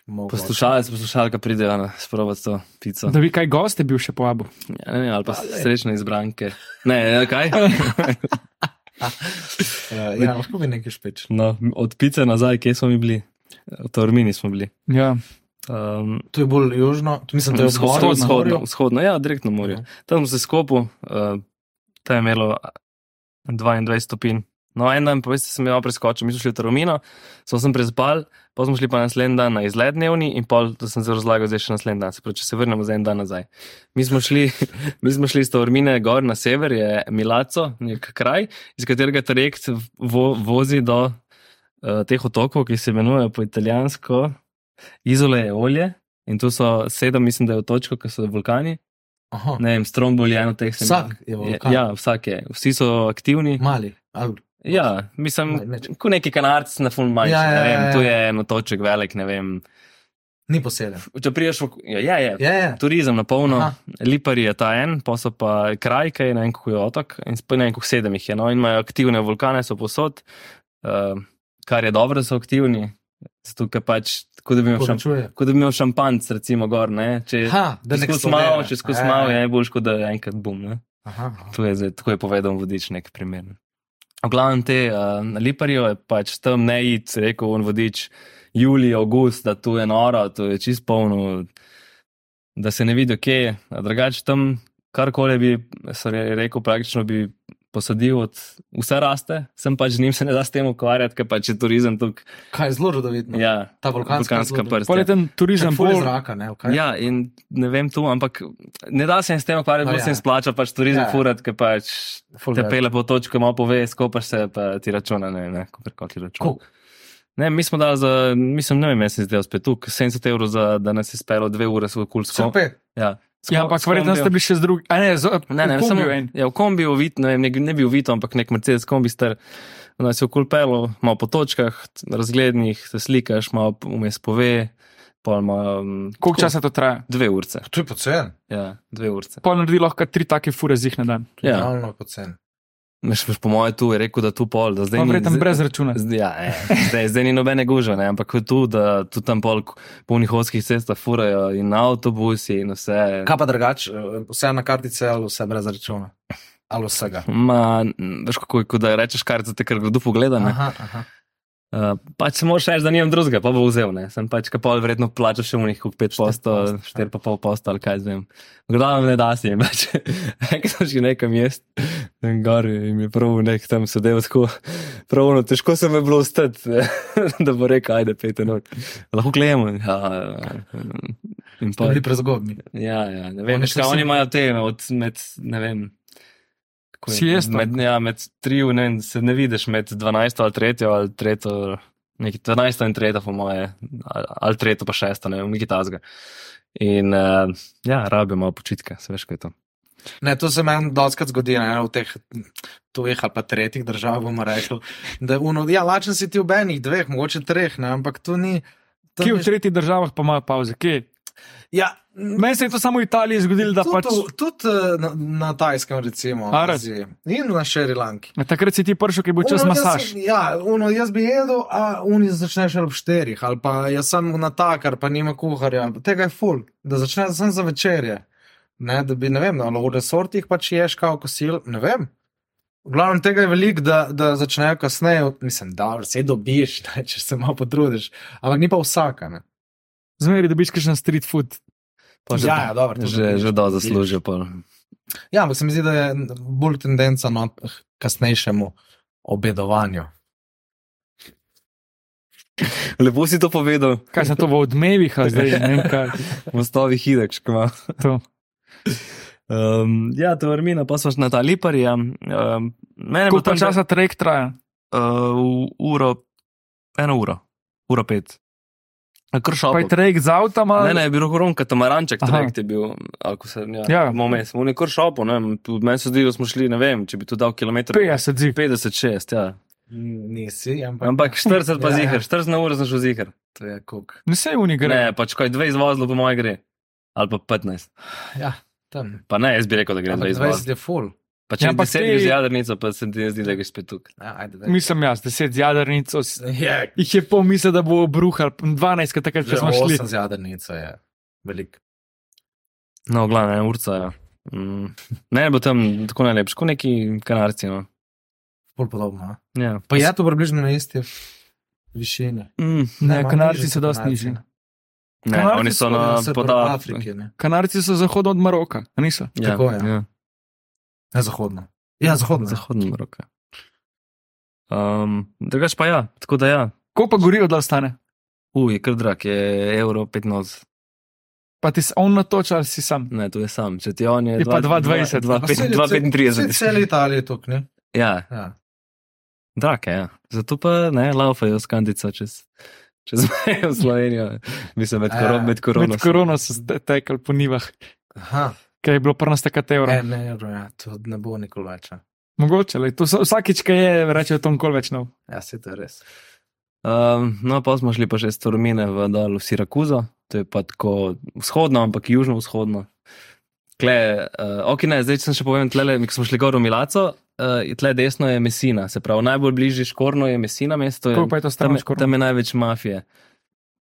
S5: Mogoče.
S3: poslušalec, poslušalka pridejo na sprovat to pico.
S4: Da bi kaj goste bil še povabil.
S3: Ja, ne vem, ali pa
S5: Ale.
S3: srečne izbranke. Ne, ja, kaj?
S5: Eh, Ja, lahko bi nekaj špeč.
S3: No, od pice nazaj, kje smo mi bili? V Tormini smo bili.
S4: Ja.
S3: Um,
S5: To je bolj južno, to mislim, da je
S3: Vzhodno,
S5: obhodno.
S3: vzhodno, vzhodno, ja, direktno morje.
S5: Ja.
S3: Tam sem se skopil, uh, tam je imelo 22 stopinj. No, en dan, poveste, sem jo preskočil, mi smo šli v Taromino, sem sem prezbal, pa smo šli pa naslednji dan na izlet dnevni in pol, to sem se razlagal, zdaj še naslednji dan, se pravi, če se vrnemo za en dan nazaj. Mi smo šli, mi smo šli iz Tormine gor na sever, je Milaco, nek kraj, iz katerega trajekt vo, vozi do uh, teh otokov, ki se imenujejo po italijansko Izole e Olje. In tu so sedem, mislim, da je točko, ki so vulkani.
S5: Aha.
S3: Ne vem, Strombol je eno teh sedem.
S5: Oh. Vsak je
S3: Je,
S5: vulkan. Hm.
S3: ja, vsak je. Vsi so aktivni.
S5: Mali. ali-
S3: Ja, mislim,
S5: Maj- meč.
S3: kot neki kanarc na full manjši.
S5: Ja, ja,
S3: ne vem,
S5: ja, ja.
S3: Tu je eno toček velik, ne vem.
S5: Ni poseben.
S3: Če priješ v. Ja, ja, je.
S5: Je, je.
S3: Turizem na polno,
S5: Aha.
S3: Lipari je ta en, pa so pa kraj, ki je na enku je otok, in sp- na enku sedem jih je. No, in imajo aktivne vulkane, so posod, uh, kar je dobro, da so aktivni. Zato, ker pač, kot da bi imel šam,
S5: Povečuje.
S3: kot da bi imel šampanc, recimo, gor, ne? Če,
S5: Ha, da ne
S3: Če
S5: Ja,
S3: skozi malo, če skozi malo, je bolj škoda, da enkrat bum. Ne?
S5: Aha.
S3: To je zdaj, tako je povedal vodič, nek primer. V glavnem te uh, na Liparju je pač tam ne id, se je rekel on vodič, julij, august, da tu je noro, tu je čist polno, da se ne vidi, kje je. A Drugače tam karkoli bi se re- rekel, praktično bi posadil od vse raste, sem pač z njim se ne da s tem ukvarjati, ker pač je turizem tukaj.
S5: Kaj je zelo rodovitno.
S3: Ja,
S5: No, Ta vulkanska zgodba.
S3: prst. ja.
S4: Poleten turizem,
S5: Sem bolj
S4: bolj,
S5: zraka, ne? Okay.
S3: Ja, in ne vem tu, ampak ne da se jim s tem ukvarjati,
S5: No,
S3: bolj
S5: ja.
S3: se jim splača pač turizem
S5: Ja.
S3: ja. furat, ker pač
S5: Ful
S3: te
S5: rad.
S3: pele po točko, malo pove, skopaš se, pa ti računa, ne, ne, kako ti računa.
S5: Ko-
S3: Ne, mi smo dali za, mislim, ne vem, jaz sem zdaj spet tu, 70 evrov za, da nas je spelo dve ure, so kulsko.
S5: Super.
S3: Ja, S
S4: ja,
S3: kom-
S4: ampak
S3: s
S4: verjetno
S3: kombijo.
S4: ste bili še z drugim. Ne, z,
S3: Ne, ne,
S4: v kombiju
S3: samo
S4: en.
S3: Ja, v kombi uvit, ne, vem, ne, ne bi uvito, ampak nek Mercedes kombi star, da si v kulpelu, malo po točkah, t- razglednih, se slikaš, malo vmes pove, pol ima. um,
S4: Koliko
S3: tako,
S4: časa to traja?
S3: Dve urce.
S5: To je pocen.
S3: Ja, dve urce.
S4: Pol naredi lahko tri take fure zih na dan.
S3: Ja.
S5: Realno pocen.
S3: Meš, meš, po mojem, tu je rekel, da tu pol, da zdaj
S4: Pa
S3: ni.
S4: verjetno
S3: zdaj-
S4: brez računa.
S3: zdaj- Ja, ne, zdaj, zdaj ni nobene gužve, ne, ampak tu, da tu tam pol k- po njihovskih cestah furajo in avtobusi in vse.
S5: Kaj pa drugače, Eh, vse na kartice ali vse brez računa? Ali vsega?
S3: Ma, n- veš, kako je, ko da rečeš kartico, te kar kdo pogleda. ne.
S5: Aha, aha.
S3: Uh, pač se moraš reči, da nimam drugega, pa bo vzel. Ne? Sem pač kapal, verjetno plačal še v njih 5%, 4,5% posto ali kaj zvem. Gledam, ne da si jim več. Enkrat sem že nekam jaz, tam gor in je prav nek tam sedel tako. Pravno, težko se mi je bilo ostati, da bo rekel, ajde, pete noč. Lahko gledamo. Ja, in pa,
S5: To je bilo prezgodbi.
S3: ja, ja, ne vem,
S5: Oni
S3: oni,
S5: so vsi-
S3: oni imajo te od med, ne vem. kako je,
S4: Siesto.
S3: Med, ja, med tri, ne vem, se ne vidiš med 12 ali 3 ali 3, nekaj 12 in 3, po moje, ali- ali 3 pa 6, ne vem, nekaj tazga. In uh, ja, rabijo malo počitka, se veš, kaj je to.
S5: Ne, to se meni doskrat zgodi ne, v teh tujih ali pa tretjih državah, bomo rekli. Da, uno, ja, lačen si ti v enih, dveh, mogoče treh, ne, ampak to ni. to
S4: Kje
S5: ni-
S4: v tretjih državah pa imajo pauze? Kje?
S5: Ja,
S4: Meni se je to samo v Italiji zgodilo, da pač.
S5: Tudi tud, na, na Tajskem, recimo,
S4: A, res?
S5: Aziji in na Šrilanki.
S4: Ja, Takrat si ti prišel, ki je bil čas
S5: Ono,
S4: masaž.
S5: Jaz, ja, ono, jaz bi jedel, a oni začneš ob štirih, ali pa jaz sem natakar, pa nima kuharja. Tega je ful, da začneš sem za večerje. Ne, da bi, ne vem, ali v resortih pač ješ kao kosil, ne vem. V glavnem tega je veliko, da, da začnejo kasneje, mislim, da vse dobiš, ne, če se malo potrudiš, ampak ni pa vsaka. Ne.
S4: Zmeri dobiš kakšen street food.
S3: Pa že-
S5: Ja, ja, dobro, to
S3: že,
S5: dobiš,
S3: že do zaslužijo. pol.
S5: Ja, ampak se mi zdi, da je bolj tendenca na kasnejšemu obedovanju.
S3: Lepo si to povedal,
S4: Kaj sem to v odmevih, a zdaj ne vem kaj.
S3: v stavi hidek, škma.
S4: To.
S3: Um, ja, to je vrmina, pa smo še na ta liparja. Um, mene bo
S4: Koliko
S3: tam
S4: pa časa trajek traja?
S3: Uh, uro, eno uro, uro pet.
S4: Pa
S3: Kršal
S4: je trajek z avtoma?
S3: Ne, ne, je bil kron, katamaranček,
S4: Aha.
S3: trajekt je bil, ako se ne.
S4: Ja.
S3: Moment, smo nekor šopo, ne, vem, tu- meni se zdi, da smo šli, ne vem, če bi tu dal kilometer.
S4: 50 zig.
S3: 56, ja.
S5: Nisi, ampak
S3: Ampak 40 pa
S5: Ja, ja.
S3: zihar, 40 na uro sem šel zihar.
S5: to je kuk.
S4: Ne se v njih gre.
S3: Ne, pač kaj dve izvozlo po moje gre. Ali pa 15.
S5: Tam.
S3: Pa ne, jaz bi rekel, da gre dve
S5: Ampak
S3: izvozlo.
S5: 20 je full.
S3: Pa če
S4: Ja,
S3: ja,
S4: ampak
S3: 10
S4: ti-
S3: gre z jadrnico, pa se ti ne zdi, da greš spet tukaj.
S5: Ja, ajde, daj. ja,
S4: Mislim jaz, 10 z jadrnico. s-
S5: je,
S4: Jih je pol misli, da bo obruhal, 12, ker takrat
S5: če
S4: če smo
S5: smo
S4: šli.
S5: šli. Z jadrnico je velik.
S3: No, glavno, ena urca, ja. Mm. Ne, bo tam tako najlepši, kot neki kanarci, no.
S5: Bolj podobno. a?
S3: Ja.
S5: Pa je to približno na isti višini.
S3: Mm.
S4: Ne,
S5: malo
S4: kanarci
S5: nižji
S4: so dosti
S5: Kanadci.
S4: nižji.
S3: Ne,
S4: Kanarci
S3: oni so na
S5: Saj pri
S3: poda...
S5: Afriki, ne.
S4: Kanarci so zahodno od Maroka, a niso?
S3: Ja,
S5: Tako je. no.
S3: Ja.
S5: Ne, zahodno. Ja, zahodno. Zahod.
S3: Zahodna roka. Um, drugač pa ja, tako da ja.
S4: Ko pa gorijo, da ostane?
S3: Uj, je kar drag, je evro 15.
S4: Pa ti se on natoča ali si sam?
S3: Ne, to je sam, če ti on je.
S4: Je pa 2,20.
S5: Pa saj je cel- Vse
S3: 2,35.
S5: cel Italija je tukaj, ne?
S3: Ja,
S5: Ja.
S3: drag je, ja. Zato pa ne, laufajo s kandico čez, čez mejo v Slovenijo. Mislim, med,
S5: Ja.
S3: koron, med korono.
S4: Med korono so se tekli po nivah,
S5: Aha,
S4: ker je bilo prvo stakati evra.
S3: E.
S5: ne, ne, evro, ja, to ne bo nikoli več. a.
S4: Mogoče, le, to so, vsakič, ki je, rečejo, to nikoli več nov.
S5: Ja, se to je res.
S3: Um, no, pa smo šli pa še iz Tormine v dol v Sirakuzo, to je pa tako vzhodno, ampak južno-vzhodno. Kle, uh, ok, ne, zdaj če sem še povem, tle, mi smo šli gor v Milaco, uh, tle desno je Messina, se pravi, najbolj bližje Škorno je Messina mesto. Je,
S4: Koliko pa je to
S3: tam,
S4: stran
S3: je, tam je največ mafije.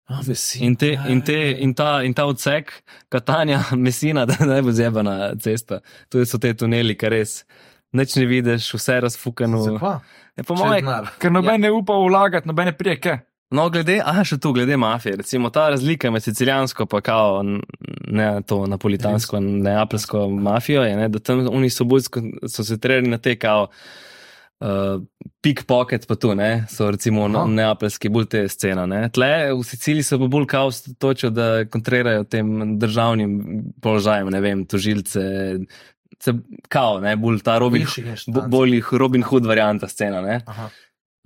S5: A, vesel.
S3: In, te, in, te, in, ta, in ta odsek, Katanja, Messina, da je najbolj zebana cesta. Tu so te tuneli, kar res nič ne vidiš, vse je razfukano.
S5: Zakaj?
S3: Je po
S5: No. Če je
S3: mojem,
S5: denar.
S4: Ker noben ne upa vlagati, noben ne prije, kaj.
S3: No, glede, a še tu, glede mafije, recimo ta razlika med sicilijansko pa kao, n- ne to napolitansko, neapelsko mafijo, je, ne, da tam oni so bolj skon- skoncentrirani na te kao. Uh, Pickpocket pa tu, ne, so recimo no,
S5: Aha.
S3: neapelski, bolj te scena. Ne. Tle v Siciliji so pa bolj kaos točo, da kontrirajo tem državnim položajem, ne vem, tožilce, se, kao, ne, bolj ta Robin,
S5: Višji je
S3: bo-
S5: štanc.
S3: bolj jih Robin Hood varianta scena, ne.
S5: Aha.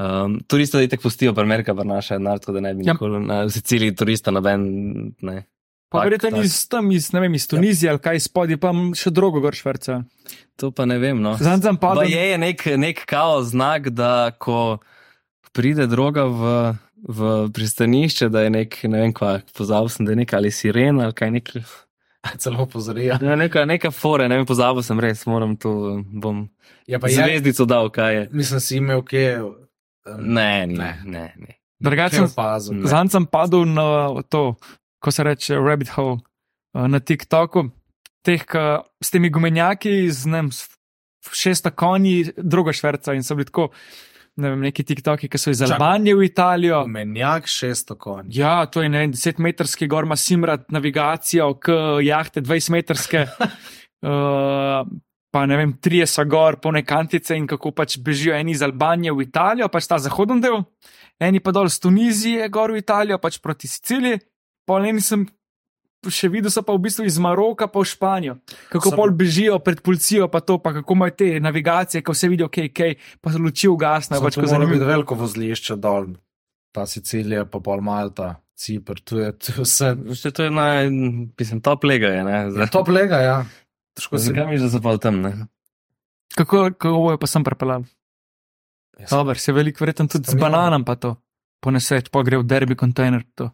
S3: Um, turista itek pustijo, premerka vrnaša denar, tako da ne bi
S4: Ja.
S3: nikoli na v Siciliji turista noben. Ne.
S4: Pa
S3: Tak,
S4: verjetno
S3: tak. Ja.
S4: iz tam, iz, ne vem, iz Tunizije ali kaj spodaj, pa še drogo gor švrca.
S3: To pa ne vem. No.
S4: Zanj sem
S3: Pa
S4: padel.
S3: je je nek, nek kao znak, da ko pride droga v, v pristanišče, da je nek, ne vem kva, pozabil sem, da je nek ali sirena ali kaj nek.
S5: Celo opozorila.
S3: Ja, neka, neka fore, ne vem, pozabil sem res, moram to, bom
S5: Ja, pa je,
S3: zvezdico dal, kaj je.
S5: mislim, si imel kje. em,
S3: Ne, ne,
S5: Ne.
S3: ne. ne.
S5: Kje
S4: Drugačen,
S5: opazil.
S4: zanj sem padel na to, ko se reče rabbit hole eh, na TikToku, teh, ke s temi gumenjaki, z nem, s f- šesta konji, drogo švrca in so bili tako, ne vem, neki TikToki, ki so iz
S5: Čakaj.
S4: Albanije v Italijo.
S5: Menjak 600 konj.
S4: Ja, to je ne vem, 10-metrski gor, ima simrat navigacijo, k jahte 20-metrske, uh, pa ne vem, 30 gor, polne kantice in kako pač bežijo eni iz Albanije v Italijo, pač ta zahoden del, eni pa dol z Tunizije gor v Italijo, pač proti Siciliji, pa eni sem. Še videl so pa v bistvu iz Maroka, pa v Španijo. Kako
S5: Samo-
S4: pol bežijo pred policijo, pa to, pa kako imajo te navigacije, ko vse vidijo, kaj je, kaj, pa se luči ugasne. Pač,
S5: Pač,
S4: ko
S5: Zelo je
S4: zanimivo.
S5: bilo veliko vozlišče dol, ta Sicilija, pa pol Malta, Cipr, tu je tu je vse.
S3: Še to je naj, mislim, top lega je. Ne, za,
S5: To plega, ja. Težko si
S3: Zakaj
S5: ga.
S3: misliš, da so pa v tem? Ne?
S4: Kako, kako je pa sem pripeljal? Dober, se veliko verjetno tudi z
S5: Kamion.
S4: bananom pa to. Po nesreč, pa gre v derbi kontejner. To.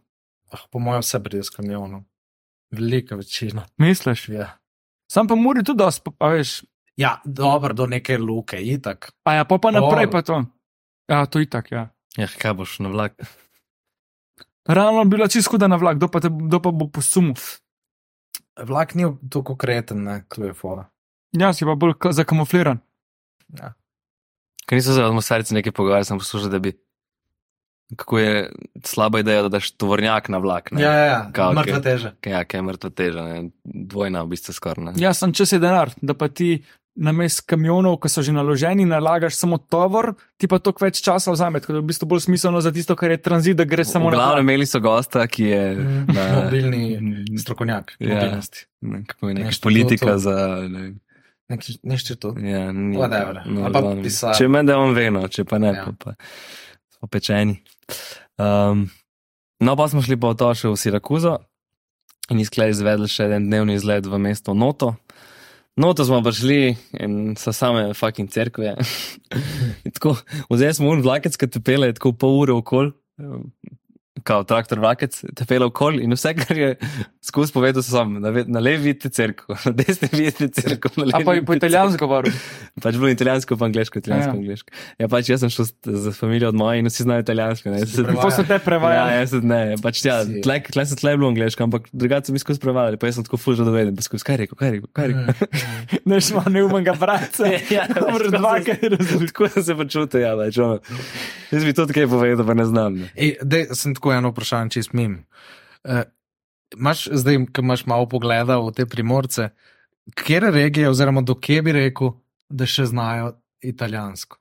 S5: Ah, po mojem vse brez kamionov. Velika večina.
S4: Misliš?
S5: Ja,
S4: Sam pa mori tudi dosti, pa, pa veš.
S5: ja dobro, do neke luke, itak.
S4: A ja, pa pa naprej
S5: Dobro.
S4: pa to. Ja, to je itak, ja.
S3: Ja, kaj boš na vlak?
S4: Realno bi bila čisto huda na vlak, kdo pa, te, kdo pa bo posumil.
S5: Vlak ni tako kreten, ne, tu je fora.
S4: Ja, si pa bolj ka- zakamufliran.
S3: Ker nisem se od Mosarice nekaj pogovarjal, sem poslušal, da bi. Kako je slaba ideja, da daš tovornjak na vlak. Ne?
S5: Ja, ja, ja.
S3: Kao,
S5: mrtva
S3: okej.
S5: teža.
S3: ja, kaj je mrtva teža, ne? dvojna v bistvu skoraj. Ja.
S4: Ja, sem čez je denar, da pa ti na mest kamionov, ki so že naloženi, nalagaš samo tovor, ti pa toliko več časa vzame. Tako da je v bistvu bolj smiselno za tisto, kar je tranzit, da gre samo na
S3: Glavno
S4: vlak.
S3: imeli so gosta, ki je
S5: Mm.
S3: na
S5: Mobilni strokovnjak.
S3: Ja.
S5: Mobilnosti.
S3: ne, kako je neka
S5: Nešto
S3: politika
S5: to- to-
S3: za. Ne,
S5: Neki inštitut.
S3: ja, ni,
S5: Whatever. Ali pa
S3: glavnem,
S5: pisar.
S3: če meni da on veno, če pa ne, ja.
S5: Ja.
S3: pa, pa smo pečeni. Um, no, pa smo šli pa v to še v Sirakuzo in izklej izvedli še en dnevni izlet v mesto Noto. Noto smo prišli in so same fucking cerkve. In tako, Vzeli smo un vlakec, ki tepele je tako pol ure okol. Kao traktor vlakec, tepele okol in vse, kar je skus povedal, sem na, ve- na levi vidite crkvo, na desni vidite crkvo. na
S4: A
S3: levi
S4: pa je po
S3: vidite
S4: italijansko govoril.
S3: Pač bilo italijansko, pa angliško, italijansko,
S4: Ja.
S3: ja. angliško. Ja, pač jaz sem šel s- z familijo od moje in vsi znajo italijansko. Ne,
S5: Si
S3: se,
S5: prevaja-
S4: Pa so te prevajali.
S3: ja, jaz sem ne, pač ja,
S5: Si.
S3: tle, tle sem tle je bilo angliško, ampak drugače sem izkus prevajal, pa jaz sem tako ful že doveden, pa skus, kaj je rekel, kaj je rekel, kaj je
S5: Mm.
S3: rekel.
S4: Neš ima neumnega brata.
S3: Ja,
S4: Dobro,
S3: tako
S4: dva,
S3: sem-
S4: kaj razumem.
S3: Tako sem se počutil, ja, pač ono. Jaz bi tudi kaj povedal, pa ne znam. Ne.
S5: Ej, dej, sem tako eno vprašanje, če smem. Uh, Maš, zdaj, ko imaš malo pogleda v te primorce, kje je regija, oziroma do kje bi rekel, da še znajo italijansko?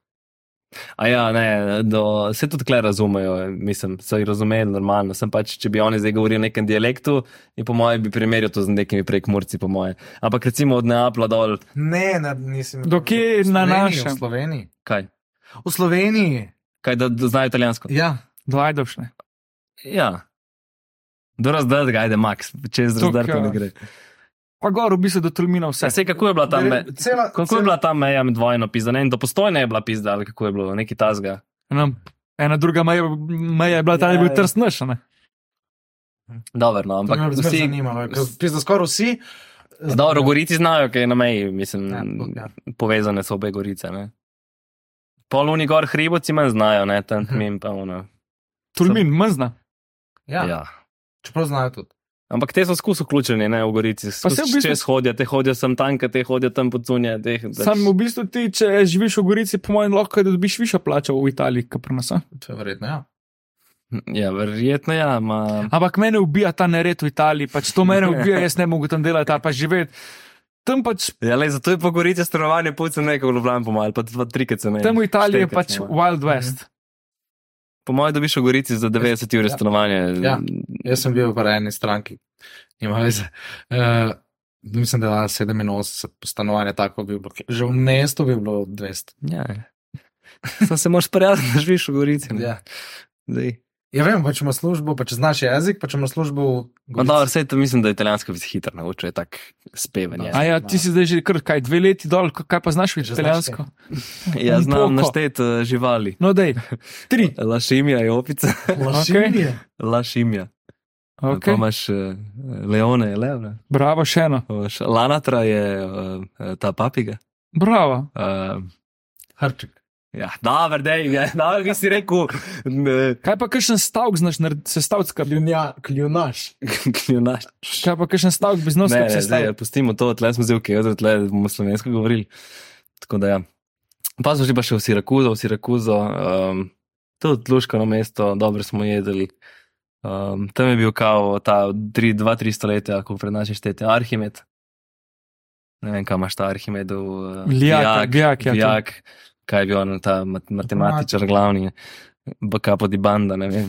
S3: A ja, ne, do, se tudi tukaj razumejo, mislim, so jih razumeli normalno. Sem pač, če bi oni zdaj govorili v nekem dialektu, in po mojem bi primerjal to z nekimi prekmurci, po mojem. Ampak recimo od Neapla dol,
S5: Ne, ne nisem.
S4: Do kje
S5: V
S4: na
S5: Sloveniji,
S4: našem?
S5: V Sloveniji.
S3: kaj?
S5: V Sloveniji.
S3: Kaj, da, da znajo italijansko?
S5: Ja,
S4: Do Ajdovšne.
S3: Ja. Do razdrga, ajde, max, če z
S4: Tukaj,
S3: razdrga ne
S4: ja.
S3: gre.
S4: Pa gor v bistvu do Tolmina
S3: Saj,
S4: vse.
S3: saj, kako je bila ta meja?
S5: Torej, cela,
S3: Kako je bila ta meja med vojno, pizda? Ne, in do postojne je bila pizda, ali kako je bilo, neki tazga.
S4: Ena, ena druga meja, meja je bila ta, da je bil
S3: Ja, ja.
S4: trst naš. a ne?
S3: Dobro, no,
S5: Ampak
S3: ampak
S5: me vsi
S3: vsi,
S5: zanimalo, ker pizda skoraj vsi.
S3: dobro, gorici znajo, kaj je na meji, mislim,
S5: Ja, tudi, ja.
S3: povezane so obe gorice. Ne? Pol oni gor hribovci manj znajo, ne,
S4: Mhm.
S3: tam mi pa ono. Ja.
S4: Tolmin, mrzna. Ja.
S5: Ja, ja. Čeprav znajo tudi.
S3: Ampak te so skus vključeni, ne v Gorici.
S4: Pa
S3: Skus,
S4: saj
S3: v
S4: v bistvu-
S3: bistvu... Čez hodijo, te hodijo sem tanka, te hodijo tam pod zunje. Te,
S4: Sam v bistvu ti, če živiš v Gorici, po mojem, lahko da dobiš višjo plačo v Italiji, kot pri nas. a?
S5: To je verjetno, ja.
S3: Ja, verjetno ja. Ma...
S4: Ampak mene ubija ta nered v Italiji, pač to mene ubija, jaz ne mogu tam delati, ali pa živeti. Tam pač,
S3: Ja, le, zato je po Gorici stanovanje pol cene, kot v Ljubljani pomal, pa dva, trikrat cene.
S4: tam v Italiji je
S3: Štirikrat
S4: pač
S3: cene.
S4: Wild West.
S3: Po mojem dobiš v Gorici za 90 ur
S5: Ja.
S3: stanovanje.
S5: Ja. Jaz sem bil pri eni stranki, nima veze. Uh, mislim, da je 87 stanovanja tako bi bilo. Že v mestu bi bilo 200.
S3: ja. Sam se moraš sprijazniti, da živiš v Gorici. ne.
S5: Ja.
S3: Zdaj.
S5: ja, vem, pa če imaš službo, pa če znaš jezik, pa če imaš službo v
S3: Ma
S5: Gorici.
S3: dobro, saj to mislim, da italijansko bi se hitro naučil, je tako spevanje.
S4: A ja, ti si zdaj že kar kaj, dve leti dol, k- kaj pa znaš več
S5: Že znaš
S4: italijansko?
S3: Ja,
S4: Poko.
S3: znam našteti eh, živali.
S4: No, dej,
S3: Ja,
S4: tri.
S3: Lašimija je opica,
S5: Lašinje.
S3: lašimija. Okay.
S4: Okay.
S3: Imaš eh, leone, je lev, ne?
S4: Bravo, še eno.
S3: Pa imaš lanatra je eh, eh, ta papiga.
S4: Bravo.
S3: Eh,
S5: Hrček.
S3: Ja, dobro, dej, ja, dobro, ki si rekel, ne,
S4: Kaj pa kakšen stavek znaš narediti, sestavka?
S5: Kljunja, kljunaš.
S3: kljunaš.
S4: Kaj pa kakšen stavek bi znal
S3: Ne, ne, zdaj,
S4: sestaviti?
S3: pustimo to, tle smo zdaj v Kejodru, tle bomo slovensko govorili. Tako da ja. Pa smo že pa še v Sirakuzo, v Sirakuzo, um, tudi Luškano mesto, dobro smo jedli. Um, tam je bil kao ta 2-3 stoletja, ko pred našim štetjem Arhimed. Ne vem, kam imaš ta Arhimed, uh,
S4: Lijak, Lijak, ja, to.
S3: Lijak, kaj je bil on, ta mat matematičar glavni, baka podi banda, ne vem.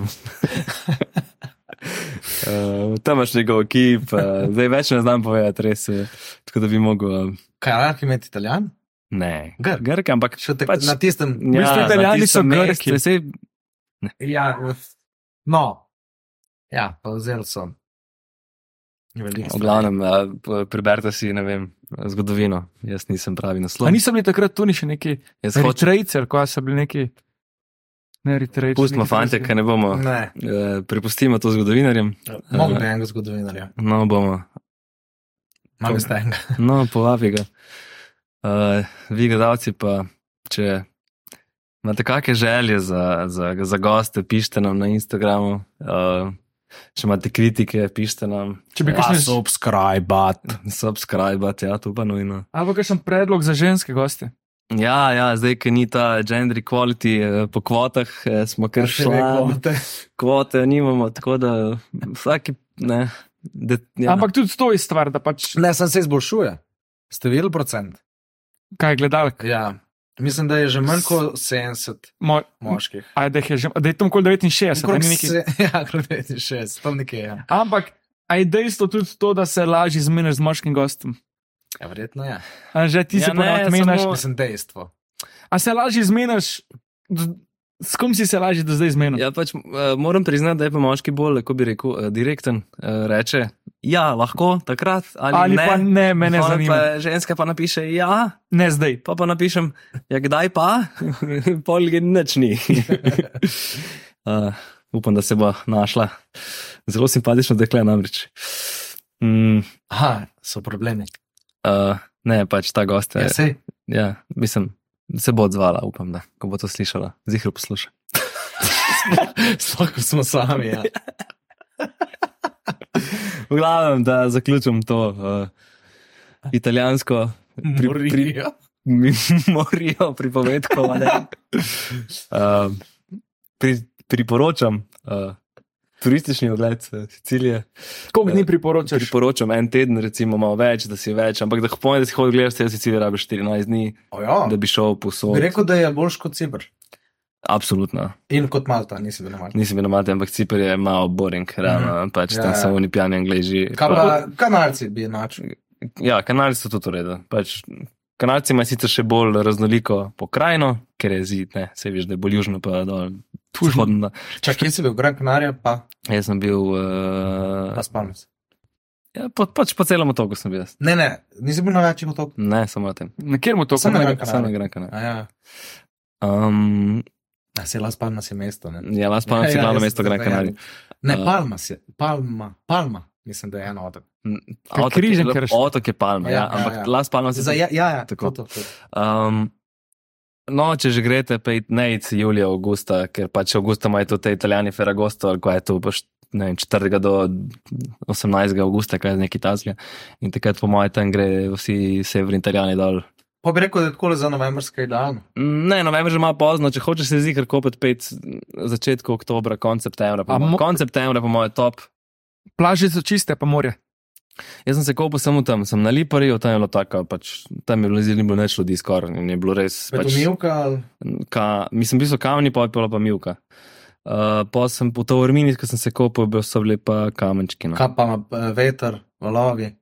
S3: Uh, tam imaš njegov ekip, uh, zdaj več ne znam povedati, res je. Tako da bi mogel. Uh,
S5: Kaj je Arhimed italijan?
S3: ne,
S5: Grk.
S3: grk, ampak
S5: Še te,
S3: Pač-
S5: pač, na tistem.
S3: ja,
S4: Mislim,
S3: na
S4: Italijani
S3: tistem
S4: so
S3: mestu,
S4: Grki.
S3: saj-
S5: Ja, v- no. Ja, pa vzel sem. Veliko
S3: V glavnem, uh, p- preberite si, ne vem, zgodovino. Jaz nisem pravi naslov.
S4: A nisem bil takrat tu ni še neki
S3: Jaz hočem,
S4: eritrejci, ali kaj so bili neki. Ne, eritrejci.
S3: pustimo
S4: neki
S3: fante,
S4: drugi.
S3: kaj ne bomo. Ne.
S5: Ne,
S3: Uh, prepustimo to zgodovinarjem.
S5: mogo no. bi enega zgodovinarja.
S3: No, bomo.
S5: Mogo ste enega.
S3: No, povabi ga. Uh, vi, gledalci, pa če imate kakšne želje za, za, za goste, pišite nam na Instagramu. Uh, če imate kritike, pišite nam,
S4: Če bi kakšen
S2: subscribe.
S3: subskrbite, ja, to pa nujno.
S4: Ali pa kakšen predlog za ženske goste.
S3: Ja, ja zdaj, ki ni ta gender equality eh, po kvotah, eh, smo kar
S5: Ja,
S3: šli. Kvote nimamo, tako da vsaki. Ne, de, ja.
S4: Ja. Ampak tudi to je stvar, da pač
S5: Ne, sem se izboljšuje. Ste videli procent?
S4: kaj gledalk.
S5: Ja, mislim, da je že manj kot 70
S4: Moj,
S5: moških.
S4: aj, da, jih je že, da je tam okoli 69,
S5: Okrog
S4: ali neki.
S5: se- Ja, okrog 69, tam nekje je. Ja.
S4: Ampak aj dejstvo tudi to, da se lažje zmeniš z moškim gostom.
S5: ja, verjetno je.
S4: A že ti
S3: Ja,
S4: ja, se
S3: ne,
S4: ponavadi menjaš.
S3: samo-
S5: Mislim, dejstvo.
S4: A se lažje zmeniš, d- s kom si se lažje do zdaj zmenil?
S3: Ja, pač, eh, moram priznati, da je pa moški bolj, kako bi rekel, eh, direkten. eh, Reče, ja, lahko takrat, ali,
S4: Ali
S3: ne.
S4: pa ne, me ne
S3: Pol
S4: zanima.
S3: Pa ženska pa napiše, ja,
S4: Ne zdaj.
S3: pa pa napišem, ja, kdaj pa, pol je nič ni. uh, upam, da se bo našla. Zelo simpatično dekle namreč. Mm,
S5: Aha, so problemi.
S3: uh, ne, pač ta gost.
S5: Ja,
S3: Ja,
S5: sej.
S3: ja, mislim, se bo odzvala, upam, da ko bo to slišala. Zihro posluša.
S5: Sploh ko smo sami. Ja.
S3: V glavnem, da zaključim to uh, italijansko pri-
S5: Morijo.
S3: mi morijo pripovedko. a ne. Uh, pri, priporočam uh, turistični ogled eh, Sicilije.
S4: Koliko dni
S3: Eh,
S4: priporočaš?
S3: Priporočam en teden, recimo, malo več, da si več, ampak da pomeni, da si hodil gledati vse Sicilije, rabiš 14 dni,
S5: Ojo,
S3: da bi šel
S5: ja. bi
S3: posod.
S5: rekel, da je boljš kot Cibr.
S3: Absolutno.
S5: In kot Malta, nisi bil na Malti.
S3: Nisem bil na Malti, ampak Cipr je malo boring, realno, pač
S5: Ja,
S3: tam
S5: ja.
S3: samo oni pijani angliži.
S5: Kaj pa kanalci bi enačili?
S3: Ja, kanali so tudi ureda. Pač, kanalci imajo sicer še bolj raznoliko pokrajino, ker je zid, ne, se veš, da je bolj južno, pa dol. Vzhodno.
S5: Čak, kje si bil, Gran Canaria, pa,
S3: Jaz sem bil. Uh,
S5: pa spomnim se.
S3: ja, po, pač po celem otoku sem bil jaz.
S5: Ne, ne, nisi bil na večjih otokih.
S3: Ne, samo na tem.
S4: Na kjer mu to
S5: Samo na
S4: kaže?
S5: Gran
S3: Samo na
S5: Canaria.
S3: Gran Canaria.
S5: A Ja,
S3: Um,
S5: A se Las Palmas je mesto. Ne,
S3: ja, Las Palmas je
S5: Ja, ja,
S3: glavno
S5: jaz
S3: mesto
S5: sem
S3: Gran
S5: zajaden.
S3: Canaria.
S5: ne
S3: A-
S5: Palmas je, Palma, Palma, mislim, da je eno otok.
S4: Pri
S3: Otok je-
S4: križem, ker-
S3: Otok je Palma, ja,
S5: Ja,
S3: ja,
S5: ja,
S3: ampak
S5: ja.
S3: ja. Las Palmas je
S5: Za, ja, ja, ja,
S3: Tako.
S5: tako. To, to, to.
S3: Um, no, če že greš, pej ne id julija, avgusta, ker pač avgusta imajo to te italijani Ferragosto ali kaj je to, paš ne vem, 4. do 18. augusta, kaj je nekaj tazga. In takrat, po mojem, tam gre vsi severni italijani dol.
S5: Pa bi rekel, da je tako za novembrski dan.
S3: Ne, november že malo pozno, če hočeš se zikar kopet pet začetku oktobra, konc septembra.
S4: A
S3: Po moje,
S4: mo-
S3: konc septembra, po mojem, top.
S4: Plaže so čiste, pa morje.
S3: Jaz sem se kopal samo tam, sem na Liparju, tam je bilo tako, pač, tam je bilo zelo bilo neč ljudi skoraj in je bilo res.
S5: Pač...
S3: Pač,
S5: Umivka, ali...
S3: ka, mislim, bili so kamni, pa je bila pa milka. Uh, pa sem po to vrmini, ko sem se kopal, bil so bili pa kamenčki. No.
S5: kaj pa ima eh, veter, valovi.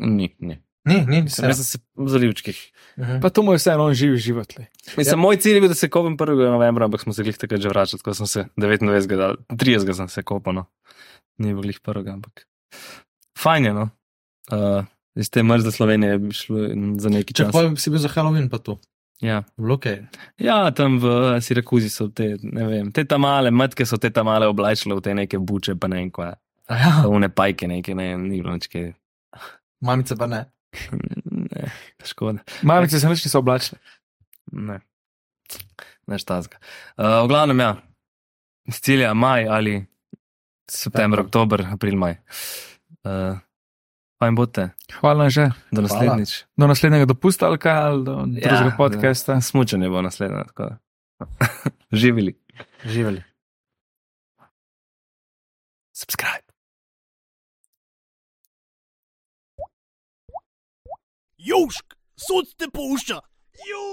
S3: Ni, ni.
S5: Ni, ni,
S3: Sem, jaz
S5: nisem.
S3: sem se v zalivčkih.
S5: Mhm.
S4: Pa to mu je vseeno, on živi živeti.
S3: Mislim, moj cilj je bil, da se kopam 1. novembra, ampak smo se jih takrat že vračali, tako sem se 29, ali 30 sem se kopal. No. Ni bilo jih 1. ampak. Fajn je, no. Uh, iz te mrzle Slovenije bi šlo za neki
S5: Če
S3: čas.
S5: pa si bil za Halloween, pa tu.
S3: Ja.
S5: Bloke.
S3: ja, tam v Sirakuzi so te, ne vem, te tam male matke so te tam male oblačile v te neke buče, pa ne vem kva.
S5: Ja,
S3: Vne pajke neke, ne, ni bilo nič kaj.
S5: mamice pa ne.
S3: Ne, škoda.
S4: Mamice se nič niso oblačile.
S3: Ne, neš tazga. Uh, v glavnem, ja, iz cilja maj ali september,
S5: Tako.
S3: oktober, april, maj. Uh, fajn bote,
S4: Hvala že.
S3: do naslednjič.
S4: Do naslednjega dopusta ali kaj, ali do
S3: Ja,
S4: drugega
S3: da.
S4: podcasta.
S3: Smučanje bo naslednje, tako da. Živeli.
S5: Živeli.
S3: Subscribe.
S1: Južk, sunce pušča. Južk.